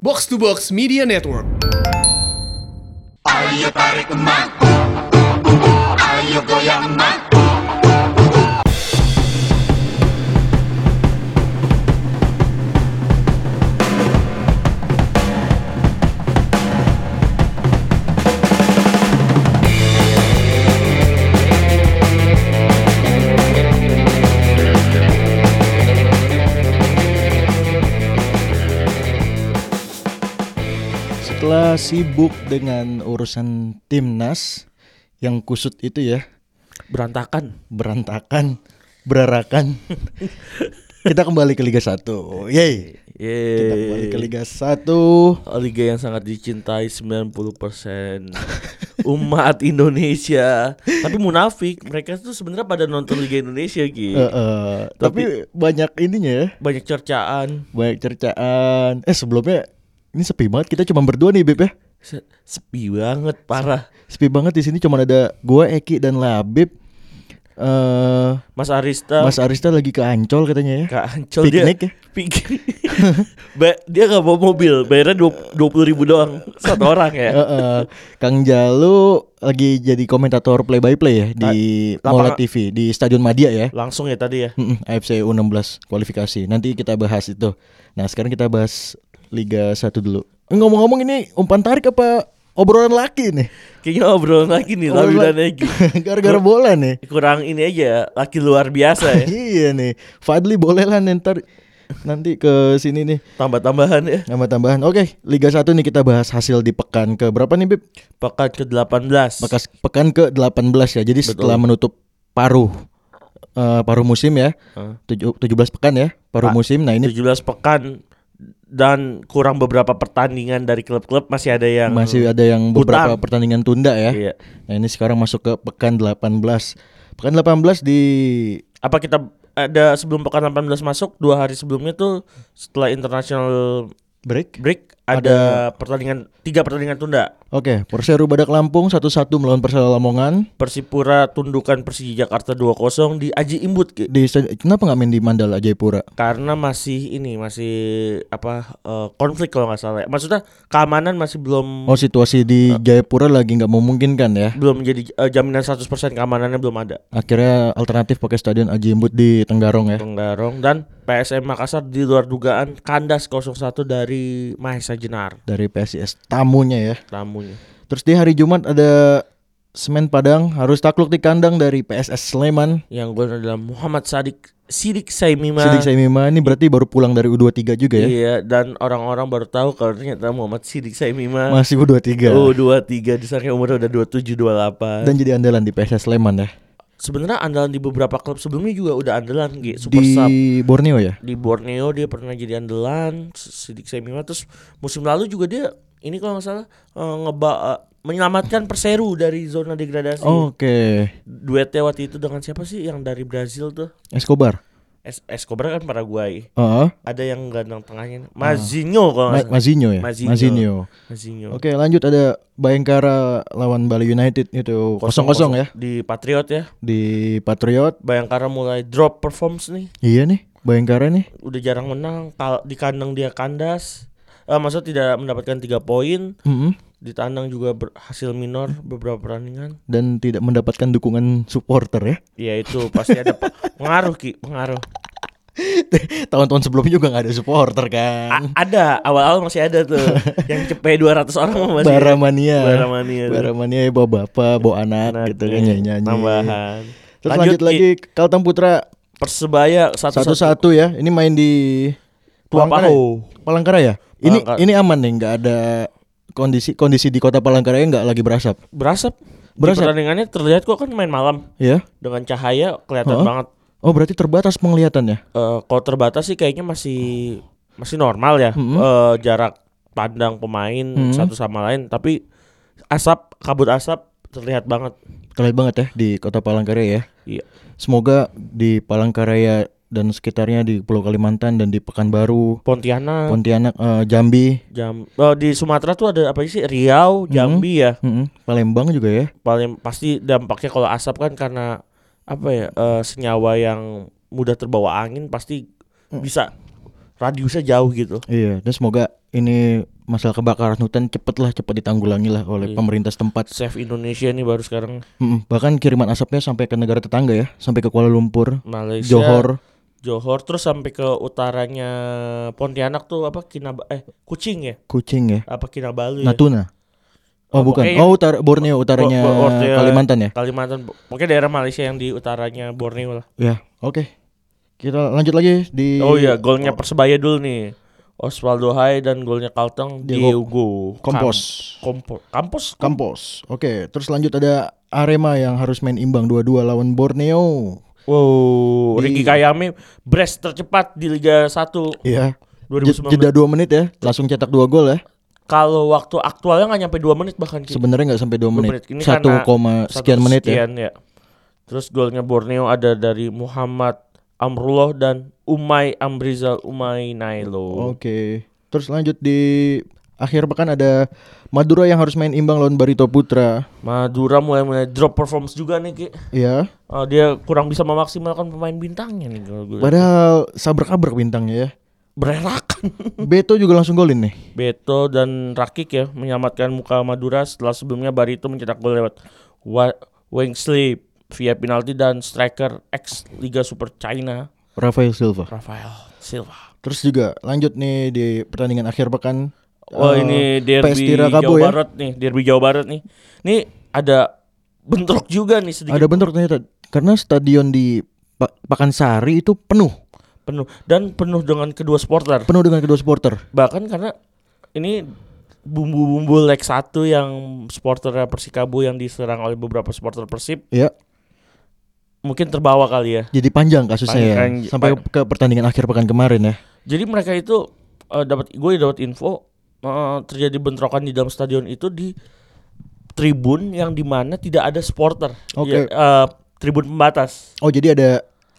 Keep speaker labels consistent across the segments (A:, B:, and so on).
A: Box to Box Media Network.
B: Ayo tarik emak Ayo goyang emak
C: Setelah sibuk dengan urusan timnas yang kusut itu ya,
D: berantakan.
C: berantakan, berarakan. kita kembali ke Liga 1. Yeay. Kita kembali
D: Yeay.
C: ke Liga 1.
D: Liga yang sangat dicintai 90% umat Indonesia. Tapi munafik, mereka tuh sebenarnya pada nonton Liga Indonesia
C: Eh,
D: gitu.
C: eh, tapi banyak ininya ya,
D: Banyak cercaan.
C: banyak cercaan. Eh sebelumnya ini sepi banget kita cuma berdua nih Beb ya.
D: Se- Sepi banget parah.
C: Sepi banget di sini cuma ada gua Eki dan Labib. Eh
D: Mas Arista
C: Mas Arista lagi ke Ancol katanya ya.
D: Kak Ancol dia
C: Piknik ya?
D: pikir Ba- dia nggak bawa mobil, bayarnya dua puluh ribu doang satu orang ya.
C: Eh, eh, Kang Jalu lagi jadi komentator play by play ya di
D: Ta-
C: Mola
D: lapangan-
C: TV di Stadion Madia ya.
D: Langsung ya tadi ya.
C: Mm-mm, AFC U16 kualifikasi. Nanti kita bahas itu. Nah, sekarang kita bahas Liga 1 dulu. Eh, Ngomong-ngomong ini umpan tarik apa obrolan laki nih?
D: Kayaknya obrolan lagi nih, Lalu
C: Obrolan-
D: dan Egy.
C: Gara-gara bola nih.
D: Kurang ini aja, laki luar biasa ya.
C: iya nih. Fadli boleh lah ntar nanti ke sini nih
D: Tambah-tambahan ya.
C: nama tambahan. Oke, Liga 1 nih kita bahas hasil di pekan ke berapa nih, Bib?
D: Pekan ke-18
C: Pekas, pekan ke-18 ya. Jadi setelah menutup paruh eh, paruh musim ya.
D: Heeh.
C: Tujuh- 17 pekan ya paruh
D: Ah,
C: musim. Nah, ini
D: 17 pekan dan kurang beberapa pertandingan dari klub-klub masih ada yang
C: masih ada yang beberapa
D: Hutang.
C: pertandingan tunda ya.
D: Iya.
C: Nah, ini sekarang masuk ke pekan 18. Pekan 18 di
D: Apa kita ada sebelum pekan 18 masuk dua hari sebelumnya tuh setelah international
C: break.
D: break ada, pertandingan tiga pertandingan tunda.
C: Oke, Perseru Badak Lampung 1-1 melawan Persela Lamongan.
D: Persipura tundukan Persija Jakarta 2-0 di Aji Imbut Ki.
C: Di stad- kenapa nggak main di Mandala Jayapura?
D: karena masih ini masih apa eh, konflik kalau nggak salah. ya. Maksudnya keamanan masih belum
C: Oh, situasi di Jayapura lagi nggak memungkinkan ya.
D: belum menjadi eh, jaminan 100% keamanannya belum ada.
C: Akhirnya alternatif pakai stadion Aji Imbut di Tenggarong ya.
D: Tenggarong dan PSM Makassar di luar dugaan kandas 0-1 dari Mahesa Jenar
C: Dari PSIS tamunya ya.
D: tamunya.
C: Terus di hari Jumat ada Semen Padang harus takluk di kandang dari PSS Sleman.
D: Yang gue adalah Muhammad Sadik Sidik Saimima.
C: Sidik Saimima ini berarti baru pulang dari U23 juga ya.
D: Nah. Iya, dan orang-orang baru tahu kalau ternyata Muhammad Sidik Saimima
C: Masih U23.
D: Oh, 23 di sana umurnya udah 27 28.
C: ya. Dan jadi andalan di PSS Sleman ya.
D: Sebenarnya andalan di beberapa klub sebelumnya juga udah andalan Gi. super
C: Di
D: sub
C: Borneo ya.
D: di Borneo dia pernah jadi andalan Sidik Saimima terus musim lalu juga dia ini kalau nggak salah eh, ngeba eh, menyelamatkan Perseru dari zona degradasi.
C: Oh, Oke.
D: duetnya waktu itu dengan siapa sih yang dari Brazil tuh?
C: Escobar.
D: Es Escobar kan Paraguay.
C: Heeh.
D: Ada yang gandang tengahnya. Mazinho kalau nggak
C: Hmm. Ma-
D: salah.
C: Mazinho ya.
D: Oh, Mazinho.
C: Mazinho.
D: Mazinho.
C: Oke, lanjut ada Bayangkara lawan Bali United itu 0-0 ya
D: Di Patriot ya.
C: di Patriot.
D: Bayangkara mulai drop performance nih.
C: Iya nih, Bayangkara nih.
D: Udah jarang menang. Kal- Di kandang dia kandas. Eh, maksud tidak mendapatkan tiga poin.
C: Mm-mm.
D: Di tandang juga berhasil minor beberapa pertandingan.
C: Dan tidak mendapatkan dukungan supporter ya.
D: Ya itu pasti ada pe- pengaruh Ki, pengaruh.
C: Tahun-tahun sebelumnya juga nggak ada supporter kan.
D: A- ada, awal-awal masih ada tuh. yang cepet 200 orang masih. ya?
C: Baramania.
D: Baramania.
C: Baramania ya bawa bapak, bawa anak,
D: Anak,
C: gitu
D: eh,
C: kan nyanyi-nyanyi.
D: Tambahan.
C: Terus lanjut,
D: Ki.
C: lagi Kalteng Putra
D: Persebaya satu satu.
C: satu-satu ya. Ini main di
D: Tua
C: Palangkaraya.
D: Paho.
C: Palangkaraya. Ini
D: Palangkaraya.
C: ini aman nih, nggak ada kondisi kondisi di kota Palangkaraya nggak lagi berasap.
D: Berasap.
C: Berasap.
D: Di pertandingannya terlihat kok kan main malam
C: Ya.
D: dengan cahaya kelihatan
C: Heeh.
D: banget.
C: Oh, berarti terbatas ya? penglihatannya.
D: Eh kalau terbatas sih kayaknya masih masih normal ya
C: Mm-mm.
D: Eh, jarak pandang pemain
C: Mm-hmm.
D: satu sama lain. Tapi asap kabut asap terlihat banget.
C: Terlihat banget ya di kota Palangkaraya ya.
D: Iya.
C: Semoga di Palangkaraya dan sekitarnya di Pulau Kalimantan dan di Pekanbaru,
D: Pontianak.
C: Pontianak, eh, Jambi,
D: Jam, eh, di Sumatera tuh ada apa sih
C: Mm-hmm.
D: Riau, Jambi ya
C: mm-mm, Palembang juga ya.
D: paling pasti dampaknya kalau asap kan karena apa ya eh, senyawa yang mudah
C: Hmm.
D: terbawa angin pasti bisa radiusnya jauh gitu.
C: Iya, dan semoga ini masalah kebakaran hutan cepatlah cepat ditanggulangi lah
D: Iya.
C: oleh pemerintah setempat.
D: Save Indonesia nih baru sekarang
C: Mm-mm. bahkan kiriman asapnya sampai ke negara tetangga ya, sampai ke Kuala Lumpur,
D: Malaysia,
C: Johor,
D: Johor terus sampai ke utaranya Pontianak tuh apa Kinab eh Kucing ya?
C: Kucing ya,
D: Apa Kinabalu ya?
C: Natuna.
D: Oh,
C: Oh, bukan.
D: pokoknya-
C: Oh, utara Borneo utaranya
D: Bo- Bo- Borneo.
C: Kalimantan ya.
D: Kalimantan, pokoknya daerah Malaysia yang di utaranya Borneo lah.
C: Ya, oke. Kita lanjut lagi di
D: Iya. Oh iya, golnya Persebaya dulu nih. Osvaldo Hai dan golnya Kalteng
C: Diego
D: Diego
C: Kompos.
D: Kam- Kompo- Kampos.
C: Kampos. Oke, terus lanjut ada Arema yang harus main imbang 2-2 lawan Borneo.
D: Wow,
C: Di-
D: Ricky Kayame brace tercepat di Liga 1
C: Iya. Je-
D: 2019.
C: Jeda 2 menit ya, langsung cetak 2 gol ya.
D: Kalau waktu aktualnya nggak nyampe 2 menit bahkan Ki.
C: Sebenarnya nggak sampai 2
D: Dua
C: menit.
D: menit. Ini
C: 1,
D: karena-
C: sekian
D: Satu
C: menit ya.
D: sekian, Terus golnya Borneo ada dari Muhammad Amrullah dan Umay Amrizal Umay
C: Oh.
D: Nailo.
C: Oke. Terus lanjut di akhir pekan ada Madura yang harus main imbang lawan Barito Putra.
D: Madura mulai-mulai drop performance juga nih Ki.
C: Ya.
D: Eh, dia kurang bisa memaksimalkan pemain bintangnya nih kalau gue.
C: Padahal sabrak-abrak bintangnya ya.
D: Bererakan.
C: Beto juga langsung golin nih.
D: Beto dan Rakik ya menyelamatkan muka Madura setelah sebelumnya Barito mencetak gol lewat Wa- Wingsley via penalti dan striker ex Liga Super China
C: Rafael Silva.
D: Rafael Silva.
C: Terus juga lanjut nih di pertandingan akhir pekan.
D: Wah
C: Eh,
D: ini derby
C: PS Tirakabo
D: Jawa
C: ya.
D: Barat nih, derby Jawa Barat nih. Ini ada bentrok juga nih sedikit
C: Ada bentrok ternyata karena stadion di Pa- Pakansari itu penuh,
D: penuh dan penuh dengan kedua supporter.
C: penuh dengan kedua supporter.
D: bahkan karena ini bumbu-bumbu leg satu yang supporter Persikabo yang diserang oleh beberapa supporter Persib
C: Ya,
D: mungkin terbawa kali ya.
C: jadi panjang kasusnya ya
D: Panjang.
C: sampai ke pertandingan akhir pekan kemarin ya.
D: Jadi mereka itu eh, dapat gue dapat info eh, terjadi bentrokan di dalam stadion itu di tribun yang dimana tidak ada supporter.
C: Oke.
D: Ya, eh, tribun pembatas.
C: Oh, jadi ada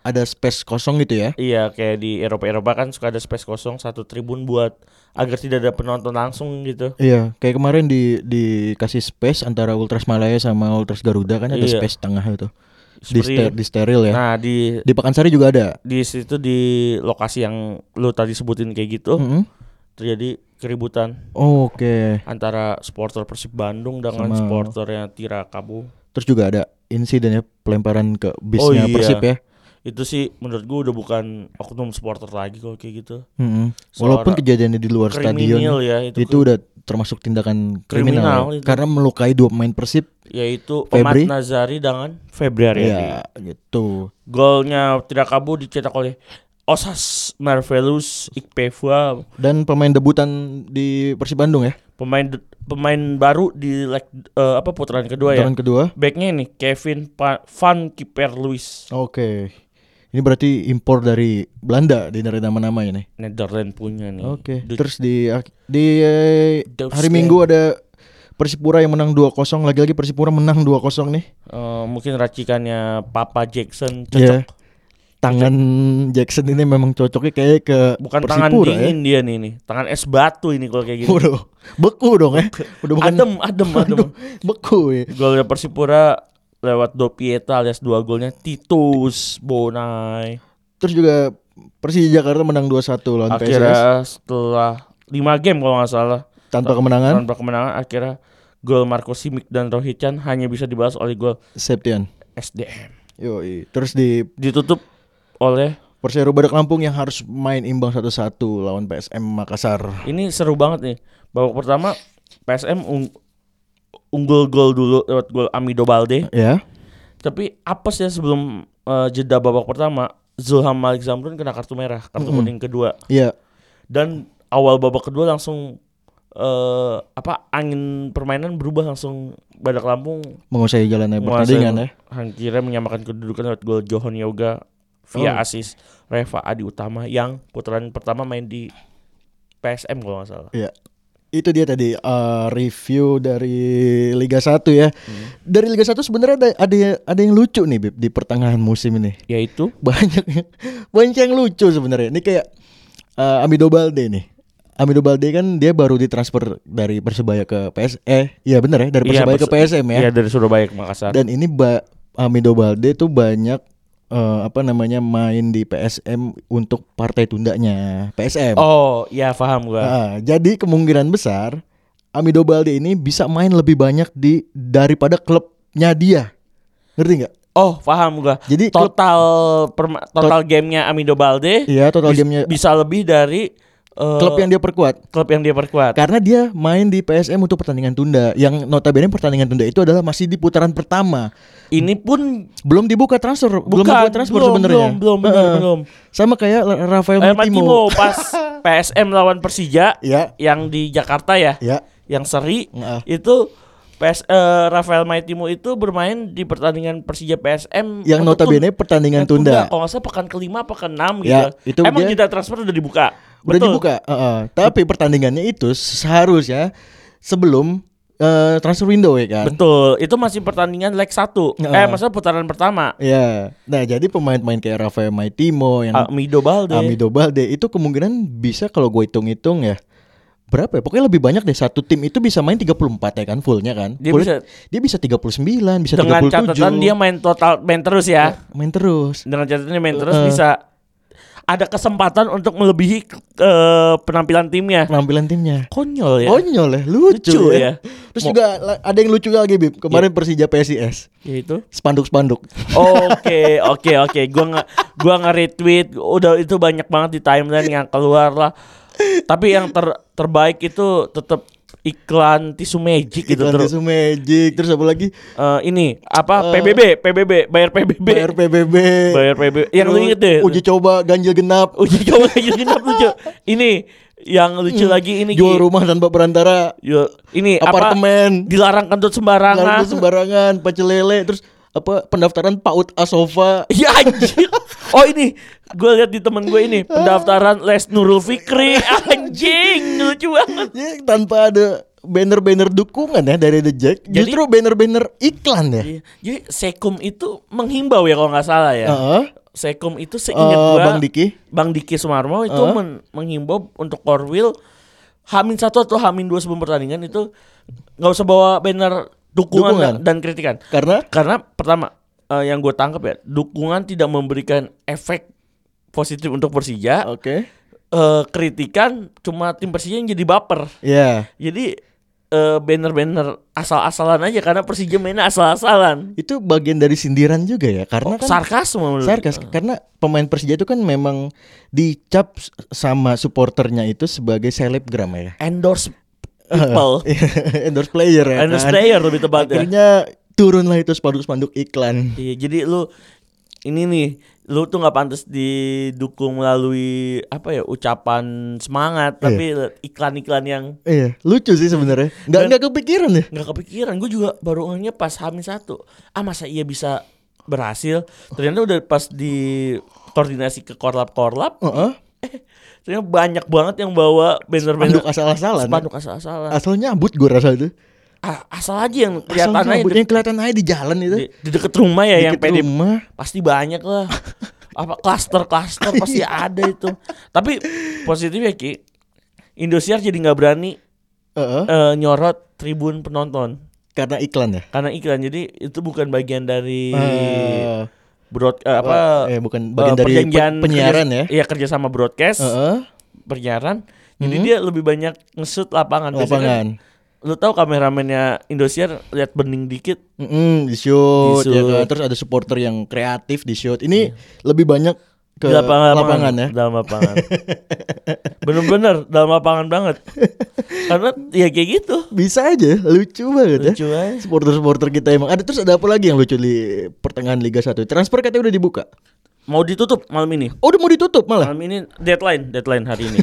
C: ada space kosong gitu ya.
D: Iya kayak di Eropa-Eropa kan suka ada space kosong satu tribun buat agar tidak ada penonton langsung gitu.
C: Iya, kayak kemarin di dikasih space antara Ultras Malaya sama Ultras Garuda kan ada
D: Iya.
C: space tengah itu. Di,
D: Seperti-
C: ster- di steril ya.
D: Nah di
C: Di Pakansari juga ada.
D: di situ di lokasi yang lu tadi sebutin kayak gitu
C: Mm-mm.
D: terjadi keributan
C: Oh, Oke.
D: antara supporter Persib Bandung dengan
C: Sama-
D: supporternya Tirakabo.
C: Terus juga ada insiden ya pelemparan ke bisnya
D: iya.
C: Persib ya.
D: Itu sih menurut gua udah bukan oknum supporter lagi kalau kayak gitu.
C: Mm-mm.
D: Seorang
C: Walaupun kejadiannya di luar stadion
D: Kriminal ya itu.
C: itu udah termasuk tindakan
D: Kriminal
C: kriminal, ya.
D: itu.
C: karena melukai dua pemain Persib
D: Yaitu
C: Febri.
D: Omat Nazari dengan Febriari.
C: ya gitu.
D: Golnya Tirakabo dicetak oleh Osas Marvelous Ikpevua
C: Dan pemain debutan di Persib Bandung ya.
D: pemain pemain baru di leg eh, apa putaran kedua ya.
C: Putaran kedua.
D: Backnya ini Kevin Pa- Van Kiper Lewis.
C: Oke. Ini berarti impor dari Belanda di dari nama-nama ini.
D: Netherlands punya nih.
C: Oke.
D: Du-
C: Terus di di eh,
D: Dubs
C: hari
D: Day.
C: Minggu ada Persipura yang menang 2-0 lagi-lagi Persipura menang 2-0 nih.
D: eh, mungkin racikannya Papa Jackson
C: Iya.
D: cocok.
C: Tangan Jackson ini memang cocoknya kayak ke
D: Bukan tangan
C: Persipura ya.
D: dingin dia nih nih. Tangan es batu ini kalau kayak gini.
C: Waduh, beku dong ya. Udah bukan
D: adem, adem, adem.
C: beku ya.
D: Golnya Persipura lewat Dopieta alias dua golnya Titus Bonai.
C: Terus juga Persija Jakarta menang 2-1 lawan PSS
D: Akhirnya setelah 5 game kalau nggak salah
C: tanpa kemenangan
D: tanpa kemenangan akhirnya gol Marco Simic dan Rohit Chan hanya bisa dibalas oleh gol
C: Septian.
D: SDM.
C: Yoi. Terus di
D: Ditutup oleh
C: Persero Badak Lampung yang harus main imbang 1-1 lawan PSM Makassar.
D: Ini seru banget nih. Babak pertama PSM ung- unggul gol dulu lewat gol Amido Balde.
C: Ya.
D: Tapi apes ya sebelum eh, jeda babak pertama Zulham Malik Zamrun kena kartu merah, kartu kuning kedua.
C: Iya.
D: Dan awal babak kedua langsung eh apa angin permainan berubah langsung Badak Lampung
C: Menguasai jalannya
D: menguasai-
C: pertandingan ya.
D: akhirnya menyamakan kedudukan lewat gol Johan Yoga via
C: Oh.
D: asis Reva Adi Utama yang putaran pertama main di PSM kalau nggak salah.
C: Iya. Itu dia tadi eh, review dari Liga 1 ya.
D: Hmm.
C: Dari Liga 1 sebenarnya ada ada ada yang lucu nih Bib, di pertengahan musim ini.
D: Yaitu
C: banyak banyak yang lucu sebenarnya. Ini kayak eh, Amido Balde nih. Amido Balde kan dia baru ditransfer dari Persebaya ke PS eh iya bener ya dari
D: Iya,
C: Persebaya ke
D: Perse-
C: PSM ya.
D: Iya dari Surabaya ke Makassar.
C: Dan ini ba Amido Balde eh, tuh banyak eh, apa namanya main di PSM untuk partai tundanya PSM.
D: Oh, ya paham gua.
C: Ah, jadi kemungkinan besar Amido Balde ini bisa main lebih banyak di daripada klubnya dia. Ngerti nggak?
D: Oh, paham gua.
C: Jadi klub-
D: total perma- total gamenya Amido Balde
C: Iya, total
D: bis-
C: gamenya
D: bisa lebih dari eh,
C: klub yang dia perkuat.
D: klub yang Kan- dia perkuat.
C: Karena dia main di PSM untuk pertandingan tunda. Yang notabene pertandingan tunda itu adalah masih di putaran pertama.
D: Ini pun
C: Belum dibuka transfer, belum
D: Bukan,
C: dibuka transfer
D: belum,
C: sebenarnya.
D: belum, belum, bener,
C: Heeh.
D: belum.
C: Sama kayak La- Rafael
D: eh,
C: Matimo.
D: Matimo pas PSM lawan Persija
C: Ya,
D: yang di Jakarta ya,
C: ya. ah.
D: yang seri
C: Heeh.
D: itu PS eh, Rafael Maitimo itu bermain di pertandingan Persija PSM
C: Yang
D: untuk tun-
C: notabene pertandingan
D: yang tunda.
C: tunda.
D: Kalau nggak salah pekan kelima, pekan enam gitu.
C: Ya, itu
D: Emang
C: dia-
D: jeda transfer udah dibuka.
C: Udah
D: Betul.
C: dibuka, heeh. tapi pertandingannya itu seharusnya sebelum eh, transfer window ya kan.
D: Betul. Itu masih pertandingan leg 1. Eh,
C: Heeh.
D: maksudnya putaran pertama.
C: Ya, nah jadi pemain-pemain kayak Rafael Maitimo yang
D: Amido Balde.
C: Amido Balde itu kemungkinan bisa kalau gue hitung-hitung ya berapa ya? Pokoknya lebih banyak deh satu tim itu bisa main 34 ya kan fullnya kan.
D: Dia
C: Fullnya- dia bisa 39, bisa
D: Dengan
C: 37.
D: catatan dia main total main terus ya.
C: main terus.
D: Dengan catatan dia main terus
C: Heeh.
D: bisa ada kesempatan untuk melebihi eh, penampilan timnya.
C: Penampilan timnya.
D: Konyol ya.
C: Konyol ya, lucu,
D: Lucu
C: ya.
D: ya.
C: Terus
D: Mo- Iya.
C: juga la- ada yang lucu lagi Bib. Kemarin Persija PSIS,
D: Yaitu
C: spanduk-spanduk.
D: Oke, oke, oke. Gua nggak gua nge-retweet. Udah itu banyak banget di timeline yang keluar lah. Tapi yang ter, terbaik itu tetap iklan tisu magic gitu
C: Iklan
D: terus.
C: tisu magic, terus apa lagi?
D: Eh, ini apa PBB, PBB, bayar PBB.
C: bayar PBB.
D: Bayar PBB. Yang lu
C: Terus
D: inget Iya, deh.
C: Uji coba ganjil genap.
D: Uji coba ganjil genap lucu. Ini yang lucu lagi ini.
C: Jual
D: Ki.
C: rumah tanpa perantara.
D: Yo, ini apa?
C: apartemen.
D: Dilarang
C: Lalu
D: kentut sembarangan.
C: sembarangan, pacelele, terus apa pendaftaran PAUD Asova.
D: Ya anjir. Oh ini gue lihat di temen gue ini pendaftaran les Nurul Fikri anjing lucu banget.
C: Ya, tanpa ada banner-banner dukungan ya dari The Jack.
D: Jadi-
C: justru banner-banner iklan ya.
D: Iya. Jadi Sekum itu menghimbau ya kalau nggak salah ya.
C: Heeh.
D: Sekum itu seingat
C: Eh,
D: gue
C: Bang Diki.
D: Bang Diki Sumarmo itu
C: Heeh.
D: men- menghimbau untuk Korwil Hamin satu atau Hamin dua sebelum pertandingan itu nggak usah bawa banner dukungan,
C: Dukungan.
D: dan- dan kritikan.
C: Karena
D: Karena pertama eh, yang gue tangkap ya dukungan tidak memberikan efek positif untuk Persija.
C: oke.
D: eh kritikan cuma tim Persija yang jadi baper.
C: Ya,
D: Jadi eh, banner-banner asal-asalan aja karena Persija mainnya asal-asalan.
C: itu bagian dari sindiran juga ya karena kan
D: Oh, Sarkas menurut
C: sarkas karena pemain Persija itu kan memang dicap s- sama supporternya itu sebagai selebgram ya.
D: endorse people,
C: endorse player ya.
D: endorse
C: kan?
D: player lebih tepatnya.
C: Akhirnya turunlah itu spanduk-spanduk iklan.
D: Iya, jadi lu ini nih lu tuh nggak pantas didukung melalui apa ya ucapan semangat tapi iklan-iklan yang
C: Iya, lucu sih sebenarnya. Nggak nggak kepikiran ya.
D: nggak kepikiran gue juga baru ngehnya pas hamil satu ah masa iya bisa berhasil ternyata udah pas di koordinasi ke korlap korlap
C: Heeh.
D: ternyata banyak banget yang bawa
C: Spanduk ya?
D: banner-banner
C: asal-asalan.
D: spanduk asal-asalan
C: Asal nyambut gue rasa itu.
D: Ah, asal aja yang
C: Asal
D: kelihatan aja
C: nyambut
D: di,
C: yang kelihatan aja di jalan itu.
D: di- di deket rumah ya yang
C: Dikit
D: PD
C: rumah.
D: pasti banyak lah apa klaster-klaster pasti
C: Iya.
D: ada itu tapi positifnya ki Indosiar jadi nggak berani
C: Heeh.
D: eh, nyorot tribun penonton
C: Karena iklan ya.
D: karena iklan jadi itu bukan bagian dari
C: Eh,
D: broad eh, apa
C: eh, bukan bagian
D: eh,
C: dari pe-
D: perjanjian
C: penyiaran
D: kerja-
C: ya.
D: Iya kerja sama broadcast
C: Heeh. Mm-hmm.
D: penyiaran. Jadi dia lebih banyak ngesut lapangan. Biasanya
C: lapangan.
D: kan lu tahu kameramennya Indosiar lihat bening dikit.
C: Mm-mm, di shoot,
D: Di
C: ya
D: shoot. Iya.
C: kan? terus ada supporter yang kreatif di shoot. Ini lebih banyak ke
D: di
C: lapangan, ya.
D: Dalam lapangan. Bener-bener dalam lapangan banget. Karena ya kayak gitu.
C: Bisa aja, lucu banget ya.
D: Lucu aja.
C: Supporter-supporter kita emang ada terus ada apa lagi yang lucu di pertengahan Liga 1? Transfer katanya udah dibuka.
D: Mau ditutup malam ini.
C: Oh, udah mau ditutup malah.
D: Malam ini deadline, deadline hari ini.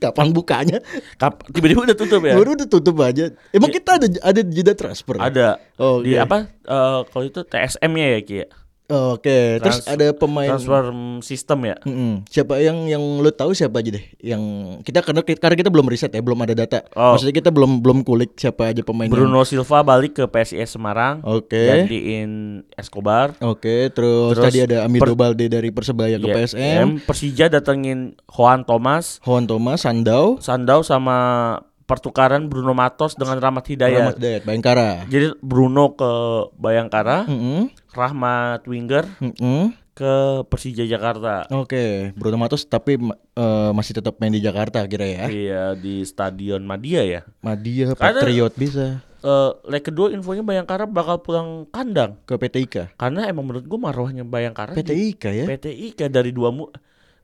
C: Kapan bukanya?
D: Kap- Tiba-tiba udah tutup ya.
C: Baru udah tutup aja. Emang kita ada ada jeda transfer.
D: Iya. Ada
C: Oh,
D: di
C: oke.
D: apa? eh, kalau itu TSM-nya ya Ki. ya?
C: Oke, terus
D: Trans-
C: ada pemain
D: Transfer sistem ya.
C: Mm-mm. Siapa yang yang lo tahu siapa aja deh? Yang kita karena karena kita belum riset ya, belum ada data.
D: Oh.
C: Maksudnya kita belum belum kulik siapa aja pemain. yang-
D: Bruno Silva balik ke PSIS Semarang.
C: Oke.
D: Gantiin Escobar.
C: Oke, terus,
D: Terus
C: tadi ada Amido
D: per-
C: Balde dari Persebaya ke
D: Ya,
C: PSM,
D: M. Persija datengin Juan Thomas,
C: Juan Thomas, Sandau,
D: Sandau sama pertukaran Bruno Matos dengan Rahmat Hidayat.
C: Rahmat Dayat, Bayangkara.
D: Jadi Bruno ke Bayangkara,
C: Mm-mm.
D: Rahmat Winger
C: Mm-mm.
D: ke Persija Jakarta.
C: Oke, Bruno Matos tapi ma- eh, masih tetap main di Jakarta kira ya.
D: Iya di Stadion Madia ya.
C: Madia
D: Karena-
C: Patriot bisa
D: Eh, leg kedua infonya Bayangkara bakal pulang kandang
C: ke PTIK.
D: karena emang menurut gua marwahnya Bayangkara di
C: PTIK ya.
D: PTI kayak dari dua mu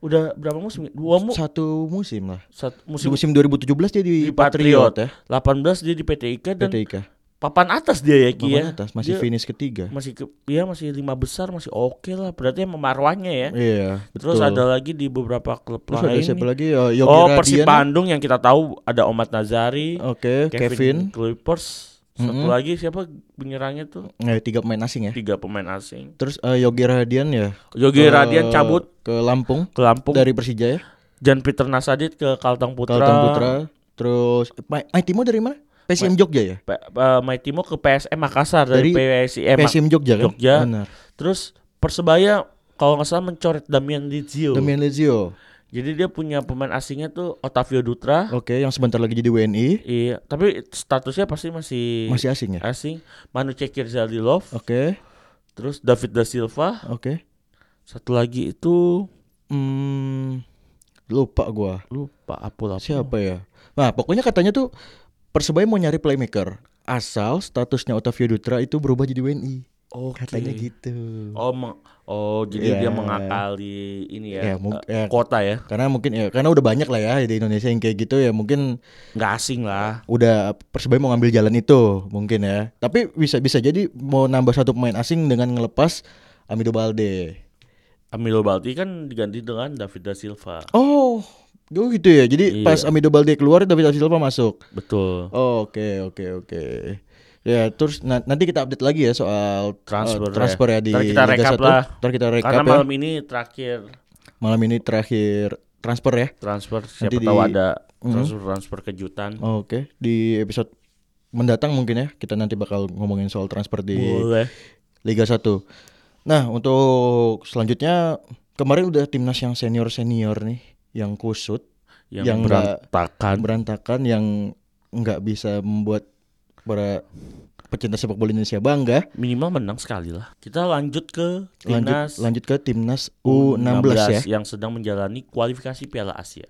D: udah berapa musim? ya? Dua mu
C: Satu musim lah.
D: satu
C: Di
D: musim
C: musim 2017 dia di,
D: di Patriot,
C: Patriot ya.
D: 18 dia di PTIK dan
C: PTIK.
D: papan atas dia ya Ki
C: Papan
D: ya.
C: atas masih
D: Dia
C: finish ketiga.
D: masih ke, ya masih lima besar masih oke lah berarti emang marwahnya ya.
C: Iya,
D: Terus
C: betul.
D: ada lagi di beberapa klub
C: Terus ada
D: lain.
C: siapa
D: nih.
C: lagi? Eh, Yogi
D: Oh
C: Radian.
D: Persib Bandung yang kita tahu ada Omat Nazari,
C: Oke, Kevin.
D: Clippers. Satu
C: Mm-mm.
D: lagi siapa penyerangnya tuh?
C: Eh, tiga pemain asing ya.
D: Tiga pemain asing.
C: Terus eh, Yogi Radian ya. ke-
D: Yogi Radian cabut
C: ke Lampung
D: ke Lampung.
C: dari Persija ya.
D: Jan Peter Nasadit ke Kalteng Putra.
C: Kalteng Putra. Terus Ma- Maitimo dari mana? PSM Jogja ya.
D: Pe- eh, Maitimo ke PSM Makassar
C: Dari
D: dari, PSM.
C: PSM Jogja kan.
D: Eh, Jogja.
C: Benar.
D: Terus Persebaya kalau nggak salah mencoret Damian Dizio.
C: Damian Lezio.
D: Jadi dia punya pemain asingnya tuh Otavio Dutra.
C: Oke, yang sebentar lagi jadi WNI.
D: Iya, tapi statusnya pasti masih,
C: Masih asing ya.
D: asing. Manu Cekir Zalilov,
C: Oke,
D: terus David da Silva.
C: oke.
D: Satu lagi itu
C: Hmm, lupa gua.
D: lupa Apul Apul.
C: Siapa ya? Nah, pokoknya katanya tuh Persebaya mau nyari playmaker asal statusnya Otavio Dutra itu berubah jadi WNI.
D: Oke.
C: Katanya gitu.
D: Oh, meng- oh jadi
C: Iya.
D: dia mengakali ini
C: Iya,
D: ya,
C: mung-
D: eh,
C: iya.
D: kota ya.
C: Karena mungkin ya karena udah banyak lah ya di Indonesia yang kayak gitu ya mungkin
D: Nggak asing lah.
C: udah Persebaya mau ngambil jalan itu mungkin ya. Tapi bisa bisa jadi mau nambah satu pemain asing dengan ngelepas Amido Balde.
D: Amilo Balti kan diganti dengan David da Silva.
C: Oh, oh gitu ya. Jadi
D: Iya.
C: pas Amido Balde keluar David Silva masuk.
D: Betul.
C: Oh, Oke, oke, oke. Ya, terus na- nanti kita update lagi ya soal
D: Transfer
C: eh, transfer ya, di
D: Ntar kita
C: Liga
D: rekap
C: 1.
D: lah.
C: Ntar kita rekap
D: Karena
C: ya.
D: malam ini terakhir
C: Malam ini terakhir transfer ya.
D: transfer siapa
C: Nanti
D: tahu
C: di- Mhm.
D: ada transfer transfer kejutan.
C: Oke, di episode mendatang mungkin ya kita nanti bakal ngomongin soal transfer di
D: Boleh.
C: Liga 1. Nah, untuk selanjutnya kemarin udah timnas yang senior-senior nih yang kusut,
D: Yang,
C: yang nggak-
D: berantakan.
C: berantakan yang nggak bisa membuat para pecinta sepak bola Indonesia bangga.
D: minimal menang sekali lah. Kita lanjut ke
C: lanjut
D: timnas
C: lanjut ke timnas U16 ya.
D: yang sedang menjalani kualifikasi Piala Asia.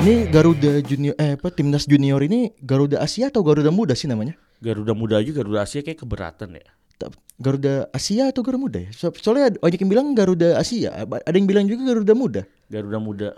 C: Ini Garuda Junior eh apa timnas junior ini Garuda Asia atau Garuda Muda sih namanya?
D: Garuda Muda aja Garuda Asia kayak keberatan ya.
C: Ta- Garuda Asia atau Garuda Muda ya? So- Soalnya ada- banyak yang bilang Garuda Asia, ba- ada yang bilang juga Garuda Muda.
D: Garuda Muda.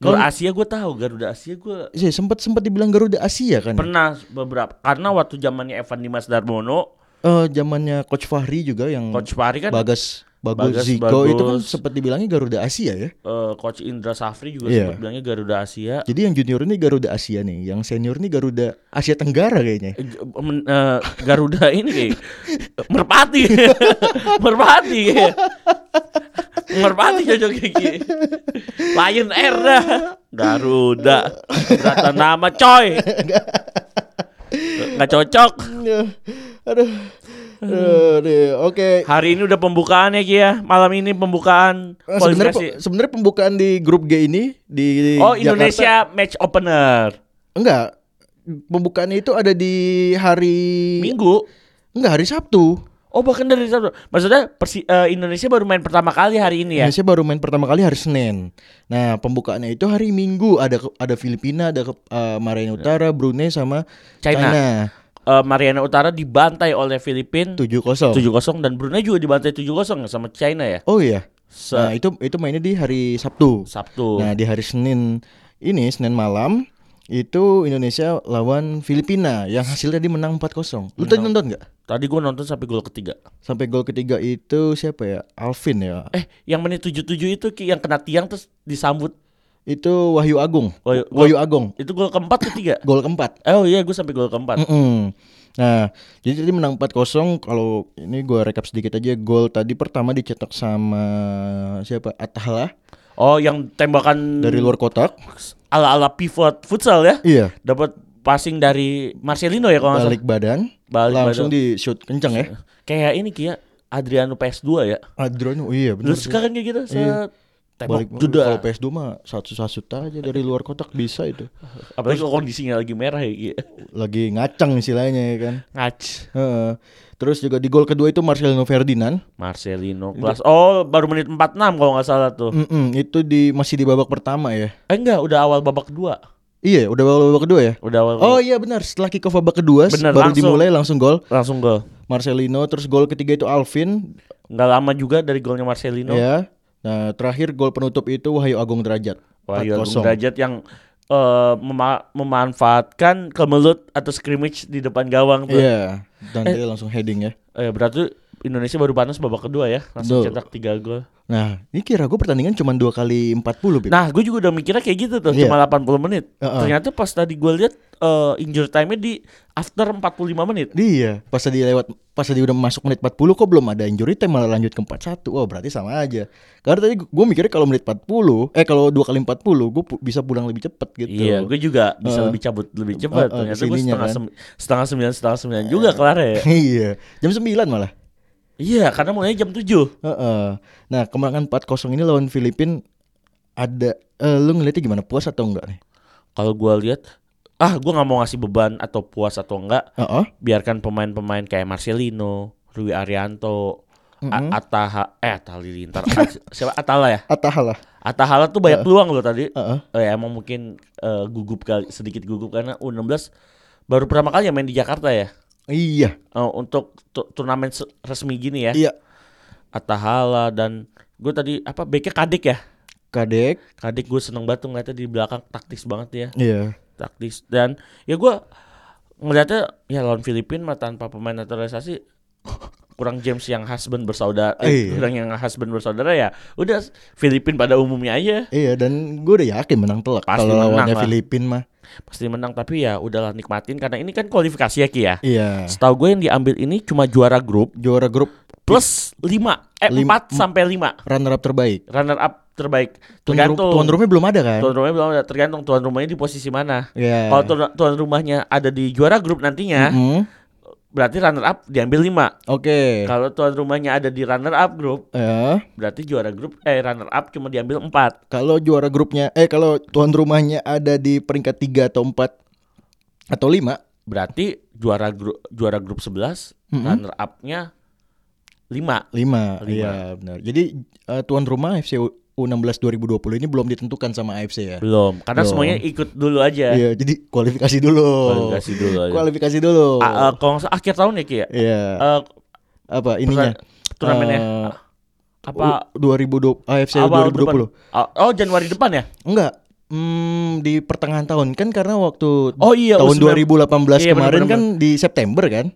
D: Kalau Asia gue tahu, Garuda Asia gue
C: Sih sempat sempat Iya, dibilang Garuda Asia kan. ya?
D: pernah beberapa karena waktu zamannya Evan Dimas Darmono,
C: Eh, zamannya Coach Fahri juga yang
D: Coach Fahri kan
C: Bagas Bagus
D: Bagas
C: Ziko itu kan
D: Bagus.
C: sempat dibilangnya Garuda Asia ya.
D: eh, Coach Indra Safri juga
C: Iya.
D: sempat bilangnya Garuda Asia.
C: Jadi yang junior ini Garuda Asia nih, yang senior ini Garuda Asia Tenggara kayaknya.
D: Eh, G- men- eh, Garuda ini kayak merpati, merpati, kayak. merpati cocok gigi, Lion Air dah, Garuda, beratan nama coy, nggak cocok.
C: Ya, Aduh. Aduh, aduh. Oke.
D: Hari ini udah pembukaannya Ki ya, malam ini pembukaan
C: Eh, Sebenarnya pe-
D: kualifikasi.
C: sebenarnya pembukaan di grup G ini di
D: Oh
C: Jakarta-
D: Indonesia match opener
C: enggak pembukaannya itu ada di hari
D: Minggu.
C: enggak hari Sabtu.
D: Oh bahkan dari Sabtu. Maksudnya Persi- eh, Indonesia baru main pertama kali hari ini ya.
C: Indonesia baru main pertama kali hari Senin. Nah pembukaannya itu hari Minggu ada ke- ada Filipina, ada ke- eh, Mariana Utara, Brunei sama
D: China.
C: China,
D: Eh, Mariana Utara dibantai oleh Filipina
C: 7-0.
D: 7-0 dan Brunei juga dibantai 7-0 sama China ya.
C: Oh iya.
D: Se
C: Nah itu itu mainnya di hari Sabtu.
D: Sabtu.
C: Nah di hari Senin ini Senin malam itu Indonesia lawan Filipina yang hasilnya dia menang 4-0. Lu tadi nonton nggak?
D: Tadi gua nonton sampai gol ketiga.
C: Sampai gol ketiga itu siapa ya? Alvin ya.
D: Eh, yang menit 77 itu Ki, yang kena tiang terus disambut.
C: Itu Wahyu Agung.
D: Wahyu-
C: Wahyu Agung.
D: Itu gol keempat ketiga.
C: Gol keempat.
D: Eh, Oh iya, gua sampai gol
C: Hmm.
D: keempat.
C: Mm-mm. Nah, jadi tadi menang 4-0. Kalau ini gua rekap sedikit aja gol tadi pertama dicetak sama siapa? Atala
D: Oh, yang tembakan
C: dari luar kotak.
D: ala-ala pivot futsal ya.
C: Iya.
D: Dapat passing dari Marcelino ya kalau nggak salah.
C: Balik badan.
D: Balik
C: langsung
D: badan. Iya.
C: di shoot kenceng ya.
D: Kayak ini Kia Adriano PS2 ya.
C: Adriano, iya benar.
D: Lu sekarang kayak gitu set. kan Tembok
C: Balik
D: jeda.
C: Kalau PS2 mah satu-satu aja dari luar kotak bisa itu.
D: Apalagi kalau kondisinya lagi merah ya. Ki.
C: Lagi ngacang istilahnya ya kan.
D: Ngac.
C: Heeh. Terus juga di gol kedua itu Marcelino Ferdinand.
D: Marcelino kelas. Oh, baru menit 46 kalau nggak salah tuh.
C: Mm-mm, itu di masih di babak pertama ya.
D: Eh enggak, udah awal babak kedua.
C: Iya, udah babak, babak kedua ya.
D: Udah awal.
C: Oh iya benar, setelah kick off babak kedua s-
D: Benar,
C: baru
D: langsung.
C: dimulai langsung gol
D: langsung gol.
C: Marcelino terus gol ketiga itu Alvin
D: Nggak lama juga dari golnya Marcelino.
C: ya. Nah, terakhir gol penutup itu Wahyu Agung Derajat.
D: Wahyu iya, Agung
C: 4-0.
D: Derajat yang eh, mema- memanfaatkan kemelut atau scrimmage di depan gawang tuh.
C: Iya, dan dia langsung heading ya.
D: Eh, berarti Indonesia baru panas babak kedua ya, langsung
C: Betul.
D: cetak tiga gol.
C: Nah, ini kira gue pertandingan cuma dua kali 40 Bib.
D: Nah, gue juga udah mikirnya kayak gitu tuh,
C: Iya.
D: cuma 80 menit.
C: Heeh.
D: Ternyata pas tadi gue lihat eh, injury time-nya di after 45 menit.
C: Dia Iya, pas tadi lewat pas tadi udah masuk menit 40 kok belum ada injury time malah lanjut ke 41. Wah, berarti sama aja. Karena tadi gue mikirnya kalau menit 40, eh kalau dua kali 40 gue bisa pulang lebih cepet gitu.
D: Iya, gue juga bisa
C: Heeh.
D: lebih cabut lebih cepat.
C: Heeh,
D: Ternyata gue
C: kesininya
D: setengah,
C: kan.
D: sem- setengah sembilan setengah sembilan juga kelar ya.
C: Iya, jam 9 malah.
D: Iya, karena mulainya jam 7
C: Heeh. Nah, kemenangan 4-0 ini lawan Filipin ada eh, lu ngeliatnya gimana puas atau enggak nih?
D: Kalau gue lihat, ah gue nggak mau ngasih beban atau puas atau enggak.
C: Heeh.
D: biarkan pemain-pemain kayak Marcelino, Rui Arianto,
C: Mhm.
D: A- Ataha, eh Ataha Lilintar, A- siapa Atala ya?
C: Atahala.
D: Atahala tuh banyak peluang loh tadi.
C: Heeh.
D: Eh, emang mungkin eh, gugup kali, sedikit gugup karena U16 baru pertama kali ya main di Jakarta ya.
C: Iya.
D: Eh, untuk tu- turnamen se- resmi gini ya.
C: Iya.
D: Atahala dan gue tadi apa Beke Kadek ya?
C: Kadek.
D: Kadek gue seneng banget tuh ngeliatnya di belakang taktis banget ya.
C: Iya.
D: taktis dan ya gua ngeliatnya ya lawan Filipina mah tanpa pemain naturalisasi kurang James yang husband bersaudara eh,
C: Iya.
D: kurang yang husband bersaudara ya udah Filipina pada umumnya aja
C: Iya dan gue udah yakin menang telak
D: Pasti
C: kalau
D: menang
C: lawannya
D: lah.
C: Filipin mah.
D: pasti menang tapi ya udahlah nikmatin karena ini kan kualifikasi ya Ki ya
C: Iya.
D: setahu gue yang diambil ini cuma juara grup
C: Juara grup
D: plus 5 eh
C: Lim-
D: 4 sampai 5
C: runner up terbaik.
D: runner up terbaik
C: Tuan, ru-
D: tergantung
C: tuan rumahnya belum ada kan?
D: tuan rumahnya belum ada tergantung tuan rumahnya di posisi mana
C: Iya.
D: kalau ya. tuan, tuan rumahnya ada di juara grup nantinya
C: Mm-mm.
D: berarti runner up diambil 5
C: Oke.
D: Kalau tuan rumahnya ada di runner up group,
C: Eh,
D: berarti juara grup eh runner up cuma diambil 4.
C: kalau juara grupnya eh kalau tuan rumahnya ada di peringkat 3 atau 4 atau 5,
D: Berarti juara grup juara grup 11,
C: Mhm.
D: runner up-nya 5.
C: lima
D: Lima.
C: Iya, benar. Jadi eh, tuan rumah AFC U- U16 2020 ini belum ditentukan sama AFC ya.
D: Belum, karena
C: Belum.
D: semuanya ikut dulu aja.
C: Iya, jadi kualifikasi dulu.
D: Kualifikasi dulu aja.
C: Kualifikasi dulu.
D: Ah, eh, kalau nggak salah akhir tahun ya Ki ya?
C: Iya,
D: Eh,
C: apa ininya?
D: turnamennya
C: Eh,
D: ya? apa
C: U- 2020 AFC
D: awal
C: 2020.
D: depan? Ah, Oh, Januari depan ya?
C: Enggak. Hmm, di pertengahan tahun kan karena waktu
D: Oh iya,
C: tahun
D: U19.
C: 2018
D: Iya,
C: kemarin
D: benar-benar.
C: kan di September kan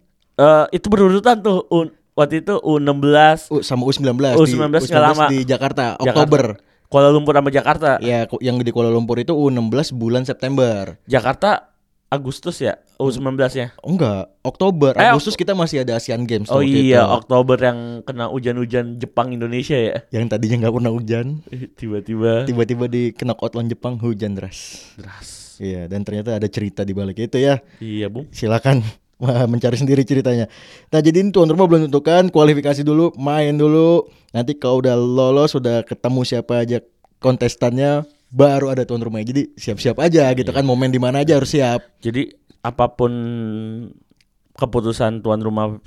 D: Eh, itu berurutan tuh U- waktu itu U16
C: U- sama U19 di,
D: U19 nggak lama.
C: di Jakarta,
D: Jakarta.
C: Oktober.
D: Kuala Lumpur sama Jakarta.
C: Ya ku- yang di Kuala Lumpur itu U16 bulan September.
D: Jakarta Agustus ya U19-nya.
C: Oh, enggak, Oktober,
D: Eh,
C: Agustus kita masih ada Asian Games
D: Oh
C: waktu itu.
D: iya, Oktober yang kena hujan-hujan Jepang Indonesia ya.
C: Yang tadinya nggak pernah hujan,
D: Tiba-tiba
C: tiba-tiba di knockout lawan Jepang hujan deras.
D: deras.
C: Iya, dan ternyata ada cerita di balik itu ya.
D: Iya, Bung.
C: silakan Wah, mencari sendiri ceritanya. Nah jadi ini tuan rumah belum tentukan kualifikasi dulu, main dulu. Nanti kalau udah lolos, udah ketemu siapa aja kontestannya, baru ada tuan rumahnya. Jadi siap-siap aja gitu
D: Iya.
C: kan, momen di mana aja harus siap.
D: Jadi apapun keputusan tuan rumah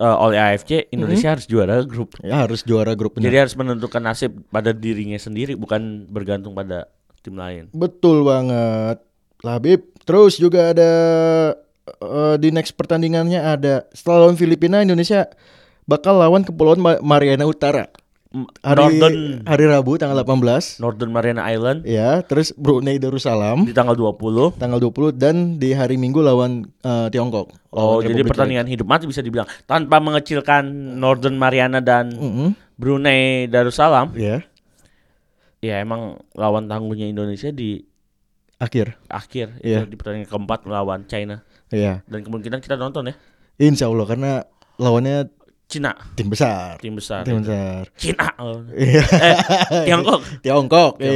D: eh, oleh AFC, Indonesia harus juara grup.
C: Mm-hmm. Ya harus juara grup
D: Jadi
C: benar.
D: harus menentukan nasib pada dirinya sendiri bukan bergantung pada tim lain.
C: Betul banget, Labib. Terus juga ada eh, di next pertandingannya ada setelah lawan Filipina, Indonesia bakal lawan Kepulauan Ma- Mariana Utara
D: M-
C: hari
D: Northern
C: hari Rabu tanggal 18.
D: Northern Mariana Island
C: Ya, terus Brunei Darussalam.
D: di tanggal 20.
C: tanggal 20 dan di hari Minggu lawan eh, Tiongkok.
D: Oh,
C: Lawan
D: jadi
C: Republik
D: pertandingan hidup mati bisa dibilang tanpa mengecilkan Northern Mariana
C: Rakyat.
D: dan
C: Mm-mm,
D: Brunei Darussalam.
C: ya,
D: Ya emang lawan tanggungnya Indonesia di
C: akhir.
D: akhir
C: Iya.
D: itu di pertandingan keempat melawan China
C: Ya,
D: dan kemungkinan kita nonton ya
C: insya Allah karena lawannya
D: Cina
C: tim besar.
D: tim besar
C: Tim besar.
D: Cina oh.
C: Iya.
D: eh, Tiongkok
C: Tiongkok.
D: Tiongkok,
C: eh.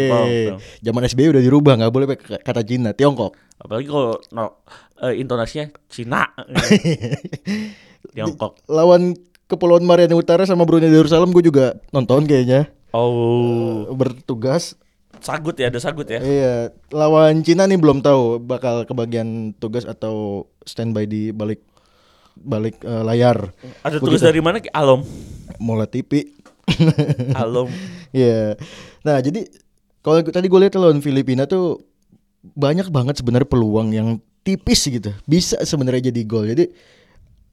D: Tiongkok.
C: Zaman SBY udah dirubah, nggak boleh pakai kata Cina, Tiongkok.
D: apalagi kalau no, eh, intonasinya Cina Tiongkok
C: lawan Kepulauan Mariana Utara sama Brunei Darussalam gue juga nonton kayaknya.
D: Oh,
C: bertugas
D: sagut ya, ada sagut ya.
C: Iya, lawan Cina nih belum tahu bakal kebagian tugas atau standby di balik balik eh, layar.
D: Ada
C: Begitu.
D: tugas dari mana? Ki? Alom.
C: Mola TV.
D: Alom.
C: Iya. Nah, jadi kalau gu- tadi gue lihat lawan Filipina tuh banyak banget sebenarnya peluang yang tipis gitu. Bisa sebenarnya jadi gol. Jadi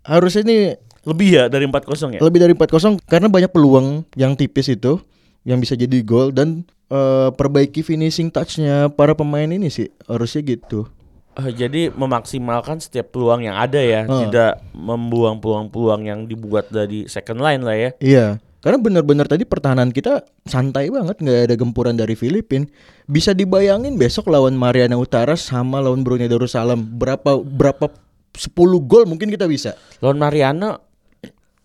C: harusnya ini
D: Lebih ya dari 4-0 ya?
C: lebih dari 4-0 karena banyak peluang yang tipis itu yang bisa jadi gol dan eh, perbaiki finishing touch-nya para pemain ini sih harusnya gitu.
D: Eh, jadi memaksimalkan setiap peluang yang ada ya,
C: Hmm.
D: tidak membuang peluang-peluang yang dibuat dari second line lah ya.
C: Iya, karena benar-benar tadi pertahanan kita santai banget, nggak ada gempuran dari Filipina. Bisa dibayangin besok lawan Mariana Utara sama lawan Brunei Darussalam berapa berapa 10 gol mungkin kita bisa.
D: Lawan Mariano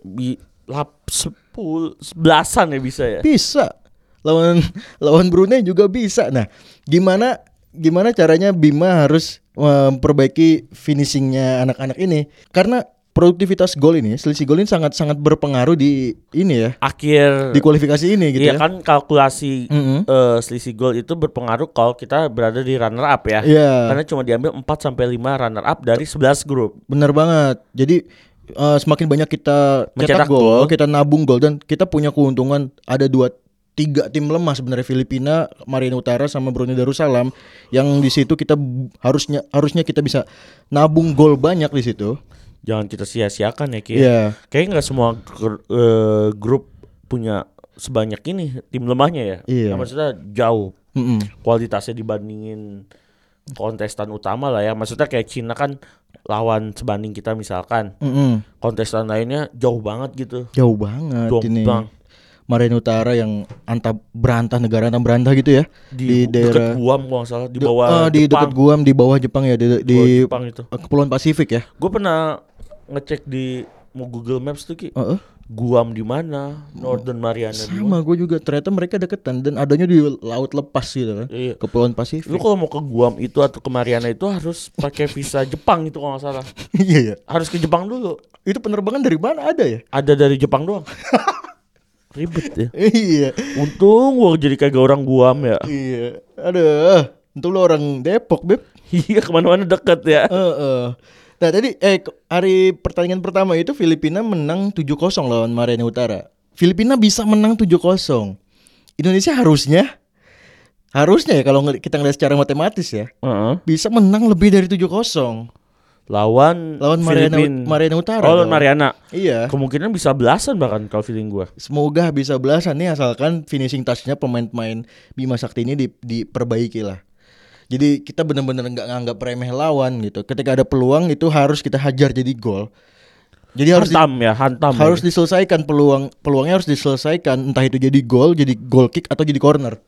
D: bi lap sepul belasan ya bisa ya.
C: Bisa. Lawan lawan Brunei juga bisa. Nah, gimana gimana caranya Bima harus eh, memperbaiki finishingnya anak-anak ini? Karena produktivitas gol ini, selisih gol ini sangat-sangat berpengaruh di ini ya,
D: Akhir
C: di kualifikasi ini gitu
D: Iya
C: ya.
D: kan kalkulasi
C: Mm-mm.
D: eh, selisih gol itu berpengaruh kalau kita berada di runner up ya.
C: Iya.
D: Karena cuma diambil 4 sampai 5 runner up dari 11 grup.
C: Bener banget. Jadi eh, semakin banyak kita cetak
D: Mencetak
C: gol,
D: gol.
C: kita nabung gol dan kita punya keuntungan ada dua tiga tim lemah sebenarnya Filipina, Marina Utara sama Brunei Darussalam yang di situ kita b- harusnya harusnya kita bisa nabung gol banyak di situ.
D: Jangan kita sia-siakan ya Ki.
C: Iya.
D: Kayaknya nggak semua gr- eh, grup punya sebanyak ini tim lemahnya ya.
C: Iya.
D: Nah, maksudnya jauh
C: Mm-mm.
D: kualitasnya dibandingin kontestan utama lah ya. Maksudnya kayak Cina kan lawan sebanding kita misalkan.
C: Mm-mm.
D: Kontestan lainnya jauh banget gitu.
C: Jauh banget ini.
D: Jombang.
C: Marina Utara yang antah berantah negara antah berantah gitu ya
D: Di, deket Guam kalau nggak salah di
C: de-
D: bawah
C: eh, di
D: Jepang.
C: dekat Guam di bawah Jepang ya di, di
D: Pulau Jepang itu.
C: Kepulauan Pasifik ya.
D: Gue pernah ngecek di mau Google Maps tuh ki.
C: Heeh.
D: Guam di mana? Northern Mariana
C: Oh.
D: di mana?
C: Sama gue juga ternyata mereka deketan dan adanya di laut lepas gitu kan.
D: Iya.
C: Kepulauan Pasifik.
D: Lu kalau mau ke Guam itu atau ke Mariana itu harus pakai visa Jepang itu kalau nggak salah.
C: Iya ya.
D: Harus ke Jepang dulu.
C: Itu penerbangan dari mana ada ya?
D: Ada dari Jepang doang. Ribet ya.
C: iya.
D: Untung gua jadi kagak orang Guam ya.
C: Iya. Aduh. Untuk lo orang Depok, Beb.
D: Iya kemana-mana deket ya.
C: Heeh. Nah, tadi eh ke- hari pertandingan pertama itu Filipina menang 7-0 lawan Mariana Utara. Filipina bisa menang 7-0. Indonesia harusnya harusnya ya kalau ngel- kita ngeliat secara matematis ya
D: Heeh.
C: bisa menang lebih dari 7-0
D: Lawan
C: lawan Mariana,
D: Filipin.
C: Mariana Utara.
D: Oh, lawan
C: dong.
D: Mariana.
C: Iya.
D: Kemungkinan bisa belasan bahkan kalau feeling gua.
C: Semoga bisa belasan nih asalkan finishing touch-nya pemain-pemain Bima Sakti ini di- diperbaiki lah. Jadi kita benar-benar nggak nganggap remeh lawan gitu. Ketika ada peluang itu harus kita hajar jadi gol. Jadi harus di-
D: Hantam ya, hantam. ya.
C: harus diselesaikan peluang peluangnya harus diselesaikan entah itu jadi gol, jadi goal kick atau jadi corner.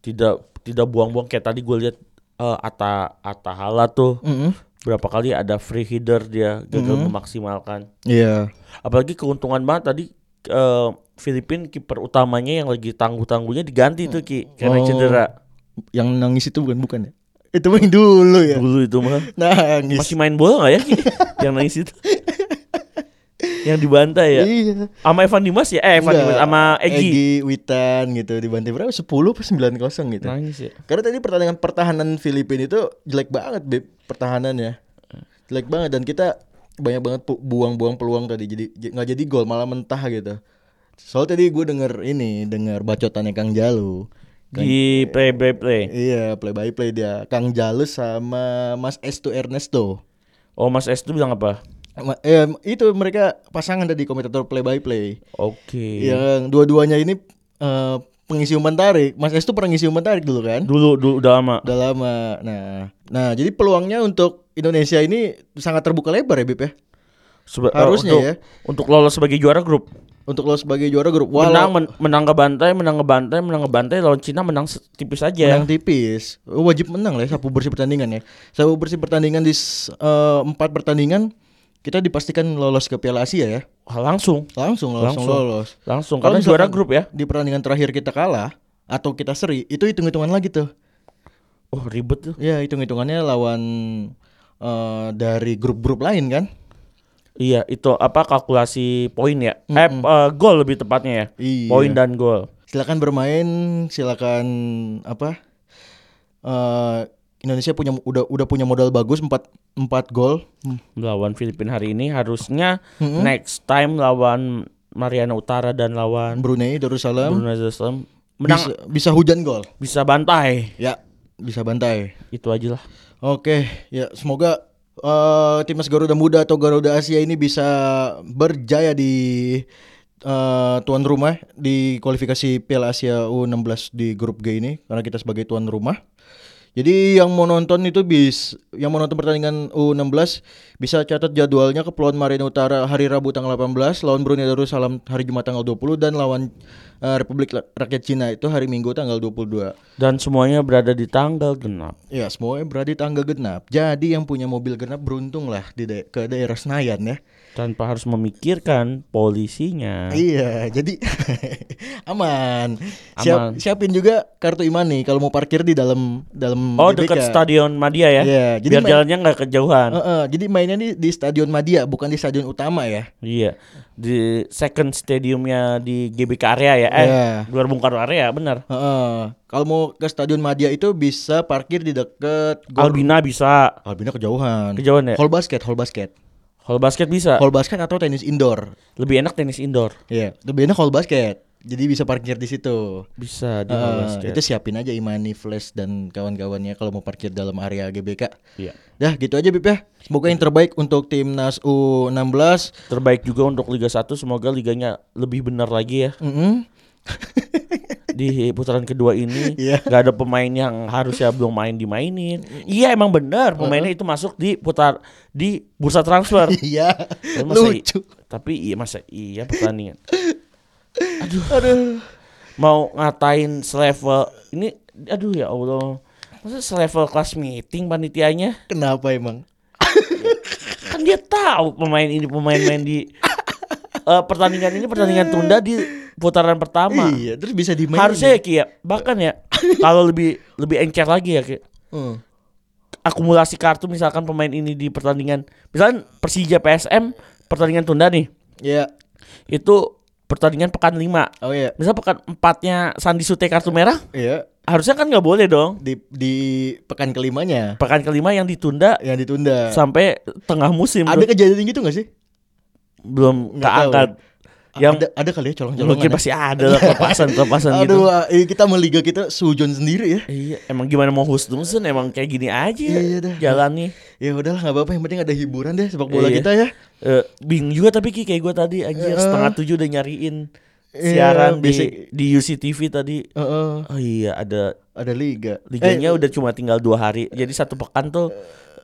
D: tidak tidak buang-buang kayak tadi gue lihat eh, Ata Ata Hala tuh
C: Mm-mm.
D: berapa kali ada free header dia gagal
C: Hmm.
D: memaksimalkan.
C: Iya.
D: Apalagi keuntungan banget tadi eh Filipin kiper utamanya yang lagi tangguh-tangguhnya diganti tuh Ki karena
C: Oh.
D: cedera.
C: Yang nangis itu bukan bukan ya. Itu main dulu ya.
D: Dulu itu mah
C: Nangis.
D: masih main bola nggak ya
C: Iya.
D: Ki? yang nangis itu. yang dibantai ya.
C: Iya.
D: Sama Evan Dimas ya? Eh Evan
C: Enggak.
D: Dimas sama Egi.
C: Witan gitu dibantai berapa? 10 apa 9-0 gitu.
D: Nangis ya.
C: Karena tadi pertandingan pertahanan Filipina itu jelek banget, Beb, pertahanannya. Jelek banget dan kita banyak banget pu- buang-buang peluang tadi. Jadi j- nggak jadi gol, malah mentah gitu. Soalnya tadi gue denger ini, denger bacotannya Kang Jalu.
D: Di play play play.
C: Iya, play by play dia. Kang Jalu sama Mas Estu Ernesto.
D: Oh Mas S itu bilang apa?
C: Ma- eh, itu mereka pasangan tadi komentator play by play.
D: Oke.
C: Yang dua-duanya ini eh, pengisi umpan tarik. Mas Estu pernah ngisi umpan tarik dulu kan?
D: Dulu dulu udah lama.
C: Udah lama. Nah, nah jadi peluangnya untuk Indonesia ini sangat terbuka lebar ya Bib ya.
D: Seba- eh,
C: Harusnya
D: untuk,
C: ya.
D: untuk lolos sebagai juara grup.
C: Untuk lo sebagai juara grup walau
D: Menang men- menang ke bantai, menang ke bantai, menang ke bantai lawan Cina menang se- tipis aja.
C: menang tipis. Wajib menang lah ya sapu bersih pertandingan ya. Sapu bersih pertandingan di s- eh, empat pertandingan kita dipastikan lolos ke Piala Asia ya.
D: Wah, Langsung,
C: Langsung lolos, langsung,
D: Langsung.
C: lolos.
D: langsung
C: Kalau
D: karena juara
C: misalkan-
D: grup ya.
C: Di pertandingan terakhir kita kalah atau kita seri, itu hitung-hitungan lagi tuh.
D: Oh, ribet tuh.
C: Ya, hitung-hitungannya lawan eh, dari grup-grup lain kan.
D: Iya, itu apa kalkulasi poin ya? Eh,
C: Mm-mm.
D: eh, gol lebih tepatnya ya.
C: Iya.
D: Poin dan gol.
C: silakan bermain, silakan apa? eh, Indonesia punya udah udah punya modal bagus 4 4 gol. Hmm.
D: Lawan Filipina hari ini harusnya
C: Mm-mm.
D: next time lawan Mariana Utara dan
C: Kan
D: lawan
C: Brunei Darussalam
D: Brunei Darussalam
C: bisa,
D: menang
C: bisa hujan gol.
D: bisa bantai.
C: Ya, bisa bantai.
D: Itu aja lah.
C: Oke, ya semoga eh, timnas Garuda Muda atau Garuda Asia ini bisa berjaya di eh, tuan rumah di kualifikasi Piala Asia U16 di grup G ini karena kita sebagai tuan rumah. Jadi yang mau nonton itu bis yang mau nonton pertandingan U16 bisa catat jadwalnya Kepulauan Marina Utara hari Rabu tanggal 18 lawan Brunei Darussalam hari Jumat tanggal 20 dan lawan eh, Republik Rakyat Cina itu hari Minggu tanggal 22.
D: Dan semuanya berada di tanggal genap.
C: Ya, semuanya berada di tangga genap. Jadi yang punya mobil genap beruntung lah di dae- ke daerah Senayan ya.
D: tanpa harus memikirkan polisinya.
C: Iya, jadi aman.
D: Aman.
C: Siap, siapin juga kartu imani kalau mau parkir di dalam dalam
D: Oh
C: GBK.
D: dekat stadion Madia ya.
C: Hmm, Iya, jadi
D: Biar
C: main- Oh.
D: jalannya nggak kejauhan.
C: Heeh, jadi mainnya di, di Stadion Madia bukan di stadion utama ya.
D: Iya. Di second stadiumnya di GBK area ya. Eh,
C: Iya.
D: luar Bung Karno area benar.
C: Heeh. Kalau mau ke Stadion Madia itu bisa parkir di dekat gor-
D: Albina bisa.
C: Albina kejauhan.
D: Kejauhan ya?
C: Hall basket, hall basket.
D: Hall basket bisa.
C: Hall basket atau tenis indoor.
D: Lebih enak tenis indoor.
C: Iya, lebih enak hall basket. Jadi bisa parkir di situ.
D: Bisa di hall
C: Eh,
D: basket.
C: itu siapin aja Imani Flash dan kawan-kawannya kalau mau parkir dalam area GBK.
D: Iya.
C: Ya, gitu aja Bib ya. Semoga yang terbaik untuk timnas U16.
D: Terbaik juga untuk Liga 1 semoga liganya lebih benar lagi ya
C: Mm-mm.
D: di putaran kedua ini
C: Iya.
D: nggak ada pemain yang harusnya belum main dimainin. Iya emang benar pemainnya itu masuk di putar di bursa transfer.
C: Iya.
D: Tapi masa i-
C: Lucu.
D: tapi iya masa iya pertandingan.
C: Aduh.
D: Mau ngatain selevel ini aduh ya Allah. Masa selevel kelas meeting panitianya?
C: Kenapa emang?
D: Kan dia tahu pemain ini pemain main di eh, pertandingan ini pertandingan tunda di putaran pertama.
C: Iya, terus bisa dimainin.
D: Harusnya ya Ki ya, bahkan ya kalau lebih lebih encer lagi ya Ki.
C: Hmm.
D: Akumulasi kartu misalkan pemain ini di pertandingan misalkan Persija PSM pertandingan tunda nih.
C: Iya.
D: Itu pertandingan pekan 5.
C: Oh iya.
D: Misal pekan empatnya Sandi Sute kartu merah
C: Iya,
D: Harusnya kan nggak boleh dong
C: di di pekan kelimanya
D: Pekan kelima yang ditunda
C: yang ditunda.
D: Sampai tengah musim
C: Iya. Ada kejadian gitu gak sih?
D: Belum
C: Nggak tahu.
D: keangkat Yang
C: ada, ada kali ya colong-colongan.
D: mungkin
C: ya?
D: pasti ada lah Kelepasan-kelepasan
C: Aduh,
D: gitu
C: ah, eh, kita meliga kita sujon sendiri ya.
D: Iya, emang gimana mau husnuzon emang kayak gini aja
C: Iya dah.
D: jalannya.
C: Ya udahlah nggak apa-apa yang penting ada hiburan deh sepak bola
D: Iya.
C: kita ya.
D: Eh, bingung juga tapi Ki kayak gue tadi anjir
C: Heeh.
D: setengah tujuh udah nyariin
C: Eh. Iya,
D: siaran
C: basic.
D: di di UCTV tadi.
C: Heeh,
D: Oh iya ada
C: ada liga. Eh,
D: liganya udah cuma tinggal dua hari jadi satu pekan tuh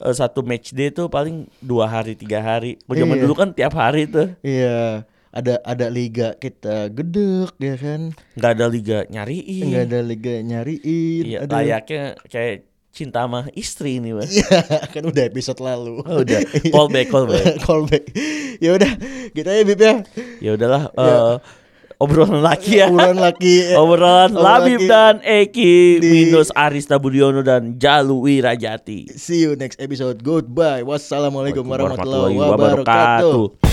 D: eh, satu match day tuh paling dua hari tiga hari Gua
C: Iya.
D: zaman dulu kan tiap hari tuh
C: Iya, ada ada liga kita gedek ya kan.
D: nggak ada liga nyariin
C: Enggak ada liga nyariin.
D: Iya,
C: ada
D: layaknya kayak cinta sama istri ini mas
C: Iya, kan udah episode lalu.
D: Oh, udah. Call back, call back.
C: Call back. Ya udah, kita ya Bib ya.
D: ya udahlah eh, obrolan laki ya
C: Obrolan laki.
D: obrolan
C: laki.
D: Labib dan Eki
C: Di-
D: minus Arista Budiono dan Jalu Wirajati
C: See you next episode. Goodbye. Wassalamualaikum warahmatullahi
D: Warahmatullahi
C: wabarakatuh.